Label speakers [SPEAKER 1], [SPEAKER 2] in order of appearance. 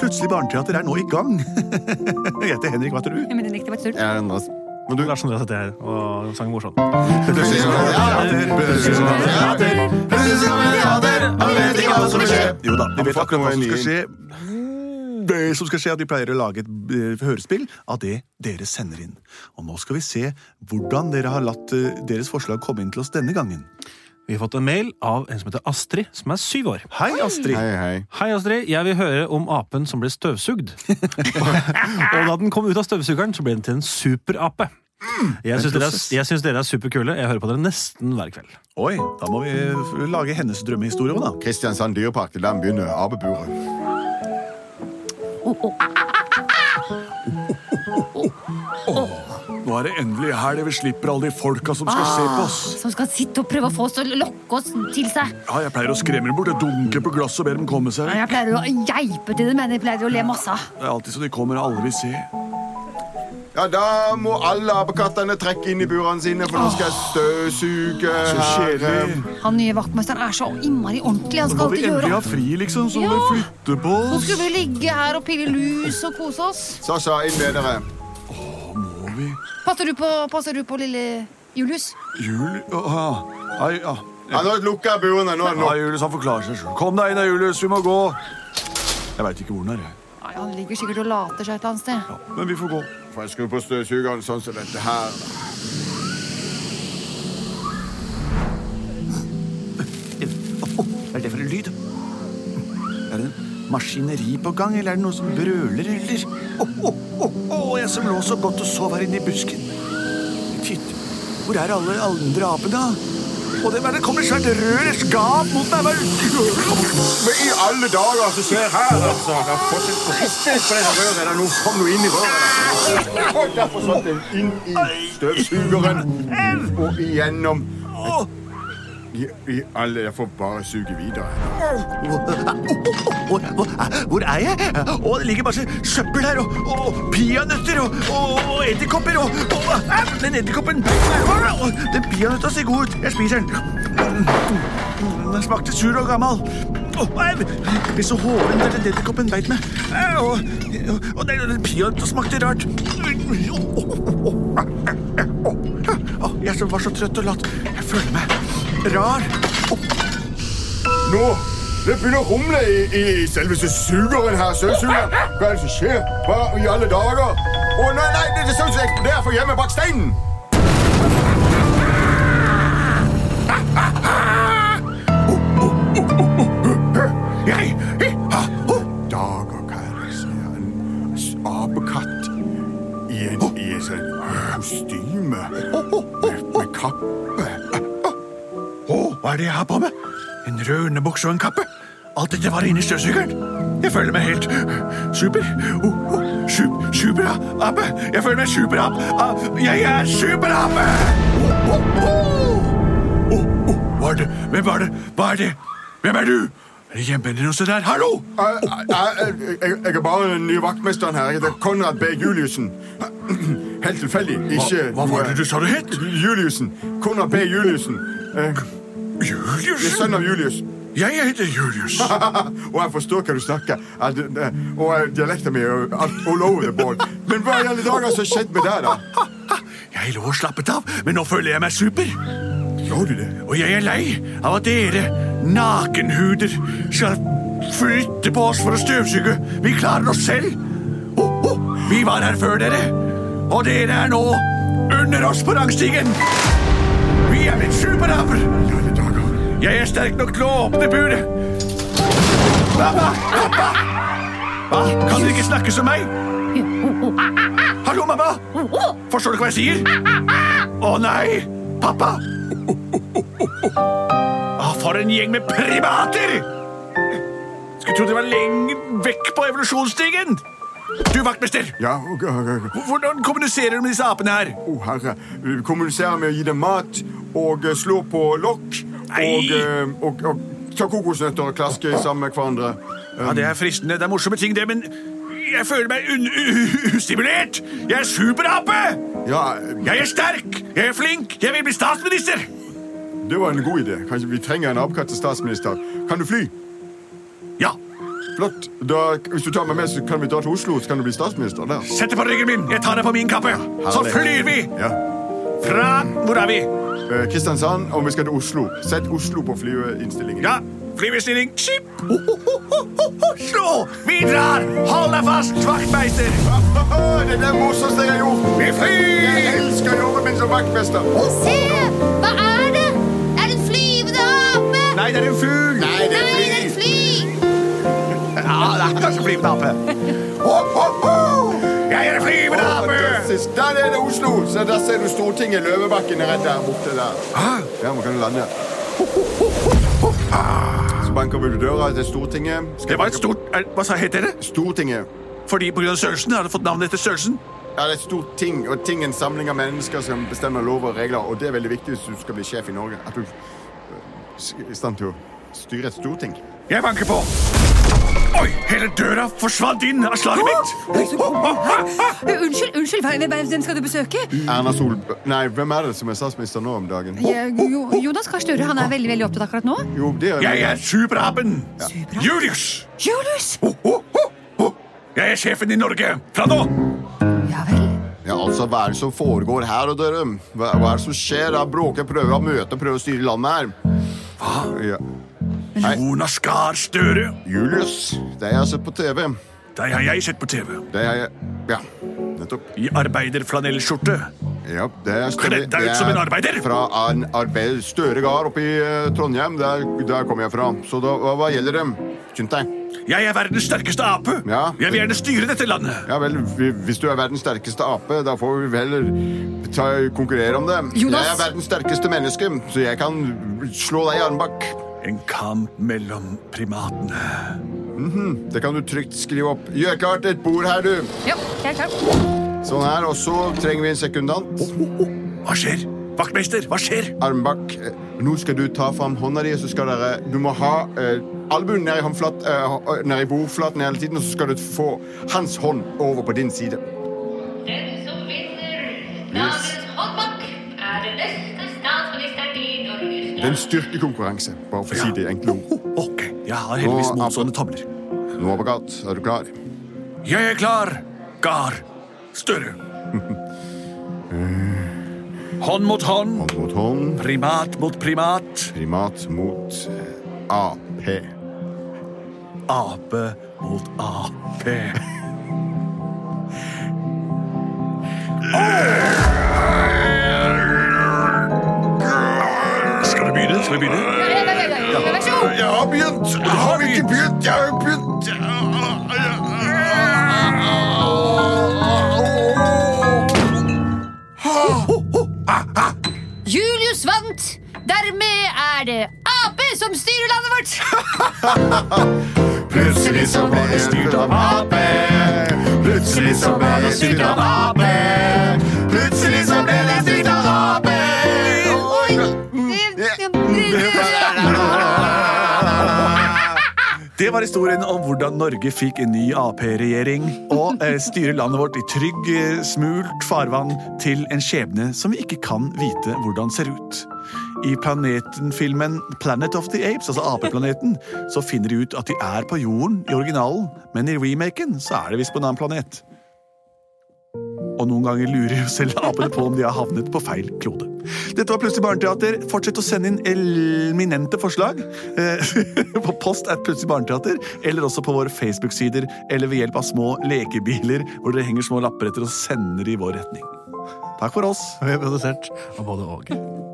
[SPEAKER 1] Plutselig barneteater er nå i gang. Jeg heter Henrik, hva heter du?
[SPEAKER 2] Benedikte, hva tror du?
[SPEAKER 3] Jeg er nå- Men du,
[SPEAKER 4] Lars Andreas heter jeg, og sang morsomt.
[SPEAKER 1] Plutselig
[SPEAKER 3] Plutselig
[SPEAKER 1] er det Plutselig er
[SPEAKER 3] barneteater,
[SPEAKER 1] det
[SPEAKER 3] barneteater. Plutselig er det barneteater, og vi vet ikke hva som vil skje.
[SPEAKER 1] Jo da, vi vet
[SPEAKER 3] Fuck,
[SPEAKER 1] akkurat hva som
[SPEAKER 3] nå er
[SPEAKER 1] skal skje. Det som skal skje, er at vi pleier å lage et eh, hørespill av det dere sender inn. Og nå skal vi se hvordan dere har latt eh, deres forslag komme inn til oss denne gangen.
[SPEAKER 4] Vi har fått en mail av en som heter Astrid, som er syv år.
[SPEAKER 1] Hei, Astrid.
[SPEAKER 3] Hei, hei.
[SPEAKER 4] Hei, Astrid. Jeg vil høre om apen som ble støvsugd. og da den kom ut av støvsugeren, så ble den til en superape. Jeg syns dere, er- jeg syns dere er superkule. Jeg hører på dere nesten hver kveld.
[SPEAKER 1] Oi, da må vi eh, lage hennes drømmehistorie òg, da.
[SPEAKER 3] Kristiansand dyrepark, det er der vi begynner apeburet.
[SPEAKER 1] Nå er det endelig helg. Vi slipper alle de folka som skal se på oss.
[SPEAKER 2] Som skal sitte og prøve å få oss til å lokke oss til seg.
[SPEAKER 1] Ja, jeg pleier å skremme dem bort. Jeg dunker på glasset og ber dem komme seg.
[SPEAKER 2] Jeg pleier å geipe til det, men jeg pleier å le masse av.
[SPEAKER 1] Det er alltid så de kommer og aldri ser.
[SPEAKER 3] Ja, da må alle apekattene trekke inn i burene sine, for nå skal jeg støvsuge her.
[SPEAKER 1] Ah,
[SPEAKER 3] eh,
[SPEAKER 1] Kjedelig.
[SPEAKER 2] Han nye vaktmesteren er så innmari ordentlig. Han skal
[SPEAKER 1] Når vi
[SPEAKER 2] alltid
[SPEAKER 1] endelig
[SPEAKER 2] gjøre
[SPEAKER 1] har fri, liksom, så må
[SPEAKER 2] Ja.
[SPEAKER 1] vi flytte på
[SPEAKER 2] Nå
[SPEAKER 1] oss.
[SPEAKER 2] skulle vi ligge her og pille lus og kose oss.
[SPEAKER 3] Sasha, inn med dere.
[SPEAKER 1] Må vi
[SPEAKER 2] Passer du på, passer du på lille Julius?
[SPEAKER 1] Jul... Ja, Hei, ja.
[SPEAKER 3] Ja, nå lukker jeg burene. Nå er det
[SPEAKER 1] Ja,
[SPEAKER 3] nok.
[SPEAKER 1] Julius, han forklarer seg selv. Kom deg inn, da, Julius. Vi må gå. Jeg veit ikke hvor den er, jeg.
[SPEAKER 2] Nei, Han ligger sikkert og later seg et eller annet sted.
[SPEAKER 1] Ja, men vi får gå.
[SPEAKER 3] Får jeg skru på støvsugeren sånn som dette her?
[SPEAKER 1] Hva er det for en lyd? Er det maskineri på gang, eller er det noen som brøler, eller? Å, å, å, å, jeg som lå så godt og sov her inne i busken. Titt, hvor er alle andre apene? Og det, men det kommer et svært rør, et skap mot meg. hva-
[SPEAKER 3] Men i alle dager som skjer her, altså! Jeg har fått et prosess på dette røret. der. Nå kom du inn i røret. altså. Og derfor satt den inn i støvsugeren og igjennom. I, i alle, Jeg får bare suge videre.
[SPEAKER 1] Hvor, hvor, hvor er jeg? Å, det ligger masse søppel her, og, og peanøtter og, og, og edderkopper. Og, og, au, den edderkoppen Au, Den peanøtta ser god ut. Jeg spiser den. Den smakte sur og gammel. Å, au! Jeg blir så håren der den edderkoppen beit meg. Au, Og, og den, den peanøtta smakte rart. Å, å, å, å, å, å, Jeg som var så trøtt og latt. Jeg føler meg rar. Å,
[SPEAKER 3] Nå! Det begynner å rumle i, i selveste sugeren her. Støvsugeren. Hva er det som skjer? Hva i alle dager? Å nei, nei, det er sånn som eksploderer for hjemme bak steinen!
[SPEAKER 1] Jeg
[SPEAKER 3] dager, karer, sier en s- apekatt i en i en sånn kostyme med, med kappe. Øh,
[SPEAKER 1] Å, hva er det jeg har på meg? En rød underbukse og en kappe? Alt dette var inni støvsugeren. Jeg føler meg helt super. Oh, oh, sup, superape. Jeg føler meg superap. Ah, Jeg er superape! Oh, oh, oh. Oh, oh, hva er det? Hvem var det? Hva er det? Hvem er du? Er det hjemmevenner der? Hallo! Oh,
[SPEAKER 3] Jeg, jeg, jeg, øh, jeg er bare den nye vaktmesteren her. Jeg heter Konrad B. Juliussen. Helt tilfeldig. Ikke øh,
[SPEAKER 1] Hva var det du sa du het?
[SPEAKER 3] Juliussen. Konrad B. Juliussen. Eh, jeg er
[SPEAKER 1] Julius?
[SPEAKER 3] sønn av Julius.
[SPEAKER 1] Jeg heter Julius.
[SPEAKER 3] og jeg forstår hva du snakker. At, eh, og eh, dialekten min er jo alt all over the board. Men hva i alle dager som har skjedd med deg, da?
[SPEAKER 1] Jeg lå og slappet av, men nå føler jeg meg super.
[SPEAKER 3] Gjorde du det?
[SPEAKER 1] Og jeg er lei av at dere, nakenhuder, skal flytte på oss for å støvsuge. Vi klarer oss selv. Ho, ho. Vi var her før dere, og dere er nå under oss på rangstigen. Vi er blitt superaper.
[SPEAKER 3] I alle dager.
[SPEAKER 1] Jeg er sterk nok til å åpne buret. Mamma! Pappa! Hva? Kan dere ikke snakke som meg? Hallo, mamma! Forstår du ikke hva jeg sier? Å nei! Pappa! Ah, for en gjeng med primater! Skulle tro de var lenge vekk på evolusjonsstigen. Du, vaktmester,
[SPEAKER 3] Ja, og- og- og-
[SPEAKER 1] hvordan kommuniserer du med disse apene her?
[SPEAKER 3] Å, herre. Vi kommuniserer med å gi dem mat og eh, slå på lokk. Og,
[SPEAKER 1] Nei.
[SPEAKER 3] eh, og, og ta kokosnøtter og klaske sammen med hverandre. Eh,
[SPEAKER 1] Ja, Det er fristende. Det er morsomme ting, det, men jeg føler meg un u- ustimulert. Jeg er superape!
[SPEAKER 3] Ja,
[SPEAKER 1] Jeg er sterk! Jeg er flink! Jeg vil bli statsminister!
[SPEAKER 3] det var en god idé. Kanskje vi trenger en apekatt til statsminister. Kan du fly?
[SPEAKER 1] Ja.
[SPEAKER 3] Flott. Da, hvis du tar meg med, så kan vi dra til Oslo, så kan du bli statsminister der.
[SPEAKER 1] Sett det på ryggen min! Jeg tar det på min kappe! Så
[SPEAKER 3] Herlig.
[SPEAKER 1] flyr vi
[SPEAKER 3] Ja.
[SPEAKER 1] fra Hvor er vi?
[SPEAKER 3] Eh, Kristiansand, og vi skal til Oslo. Sett Oslo på flyeinnstillingen.
[SPEAKER 1] Ja, flyvestilling. Skip! Ho, ho, ho, ho, ho, ho, Slå! Vi drar! Hold deg fast, vaktmeister!
[SPEAKER 3] Det er det morsomste jeg har gjort.
[SPEAKER 1] Vi
[SPEAKER 3] Jeg
[SPEAKER 1] flyr!
[SPEAKER 3] elsker jobben min som vaktmester.
[SPEAKER 5] Se! Hva er det? Er det en flyvende ape?
[SPEAKER 1] Nei, det er en fugl!
[SPEAKER 3] Nei, det
[SPEAKER 5] Nei,
[SPEAKER 3] er
[SPEAKER 5] det er
[SPEAKER 3] fly.
[SPEAKER 5] et fly!
[SPEAKER 1] Ja, det er kanskje flyvende ape.
[SPEAKER 3] Ho, ho, ho!
[SPEAKER 1] Jeg er en flyvende
[SPEAKER 3] Å,
[SPEAKER 1] ape!
[SPEAKER 3] Fantastisk. Der er det Oslo. Så der ser du Stortinget. Løvebakken er rett der borte der. Ja, man kan lande. Så banker vi på døra til Stortinget. Skal
[SPEAKER 1] Det var
[SPEAKER 3] banke
[SPEAKER 1] et stort er, Hva sa het dere?
[SPEAKER 3] på- Stortinget.
[SPEAKER 1] Fordi på grunn av størrelsen? Har det fått navnet etter størrelsen?
[SPEAKER 3] Ja, det er et stort ting, og ting er en samling av mennesker som bestemmer lover og regler, og det er veldig viktig hvis du skal bli sjef i Norge, at du er i stand til å styre et storting.
[SPEAKER 1] Jeg banker på. Oi, hele døra forsvant inn av slaget mitt!
[SPEAKER 2] Eh, Unnskyld, unnskyld, hvem- hvem hvem skal du besøke?
[SPEAKER 3] Erna Solberg... Nei, hvem er det som er statsminister nå om dagen?
[SPEAKER 2] Jeg- Eh, Jo- Jonas Gahr Støre han er veldig veldig opptatt akkurat nå.
[SPEAKER 3] Jo, det er...
[SPEAKER 1] Jeg er superapen!
[SPEAKER 2] Superapen?
[SPEAKER 1] Julius!
[SPEAKER 2] Julius!
[SPEAKER 1] Jeg er sjefen i Norge fra nå!
[SPEAKER 2] Ja vel.
[SPEAKER 3] Ja, altså, hva er det som foregår her, og dere? Hva, hva er det som skjer? Jeg bråker, prøver å møte, prøver å styre landet her. Hva? Ja.
[SPEAKER 1] Jonas Gahr Støre.
[SPEAKER 3] Julius, det har jeg sett på TV.
[SPEAKER 1] Deg har jeg sett på TV.
[SPEAKER 3] Det har jeg... Ja, nettopp.
[SPEAKER 1] I arbeiderflanellskjorte.
[SPEAKER 3] Ja, det er
[SPEAKER 1] Kledd deg ut
[SPEAKER 3] det er
[SPEAKER 1] som en arbeider!
[SPEAKER 3] Fra en arbeider... Støre gard oppe i eh, Trondheim, der, der kommer jeg fra. Så da, hva, hva gjelder dem? Skynd deg.
[SPEAKER 1] Jeg er verdens sterkeste ape.
[SPEAKER 3] Ja.
[SPEAKER 1] Jeg vil gjerne styre dette landet.
[SPEAKER 3] Ja vel, vi- hvis du er verdens sterkeste ape, da får vi heller ta, konkurrere om det.
[SPEAKER 2] Jonas!
[SPEAKER 3] Jeg er verdens sterkeste menneske, så jeg kan slå deg i armbakk.
[SPEAKER 1] En kamp mellom primatene.
[SPEAKER 3] Det kan du trygt skrive opp. Gjør klart et bord her, du.
[SPEAKER 2] Ja, jeg er klar.
[SPEAKER 3] Sånn her, og så trenger vi en sekundant.
[SPEAKER 1] Hva skjer? Vaktmester, hva skjer?
[SPEAKER 3] Armbakk. Eh, Nå skal du ta fram hånda di, og så skal dere Du må ha eh, albuen ned i håndflat, eh, hå- eh, ned i bordflaten hele tiden, og så skal du få hans hånd over på din side.
[SPEAKER 6] Den som vinner dagens håndbak, er den neste statsministeren i Norges
[SPEAKER 3] Det er en styrkekonkurranse, bare for å si det i enkle ord.
[SPEAKER 1] Oh, Ok, jeg har heldigvis
[SPEAKER 3] Nå,
[SPEAKER 1] motstående tomler.
[SPEAKER 3] Nå, Bagat, er du klar?
[SPEAKER 1] Jeg er klar. Gahr Støre. Hånd mot hånd.
[SPEAKER 3] Hånd mot hånd,
[SPEAKER 1] Primat mot primat.
[SPEAKER 3] primat mot eh, AP.
[SPEAKER 1] Ape mot ape. Skal vi begynne? Skal vi begynne?
[SPEAKER 2] Ja, ja, ja, ja, ja, Vær så god.
[SPEAKER 3] Jeg har begynt! Jeg
[SPEAKER 1] har ikke
[SPEAKER 3] begynt! Jeg har begynt!
[SPEAKER 5] Julius vant! Dermed er det ape som styrer landet vårt!
[SPEAKER 3] Plutselig så ble jeg styrt av AP. Plutselig så ble jeg styrt av AP. Plutselig så ble jeg styrt av AP. Oi.
[SPEAKER 1] Det var historien om hvordan Norge fikk en ny Ap-regjering og eh, styrer landet vårt i trygg, eh, smult farvann til en skjebne som vi ikke kan vite hvordan ser ut. I Planeten-filmen Planet of the Apes, altså Apeplaneten, så finner de ut at de er på jorden i originalen, men i remaken så er det visst på en annen planet. Og noen ganger lurer jo selv apene på om de har havnet på feil klode. Dette var Plutselig barneteater. Fortsett å sende inn elminente forslag eh, på post at Plutselig barneteater, eller også på våre Facebook-sider, eller ved hjelp av små lekebiler hvor dere henger små lapper etter og sender i vår retning. Takk for oss.
[SPEAKER 4] Vi er produsert av både og.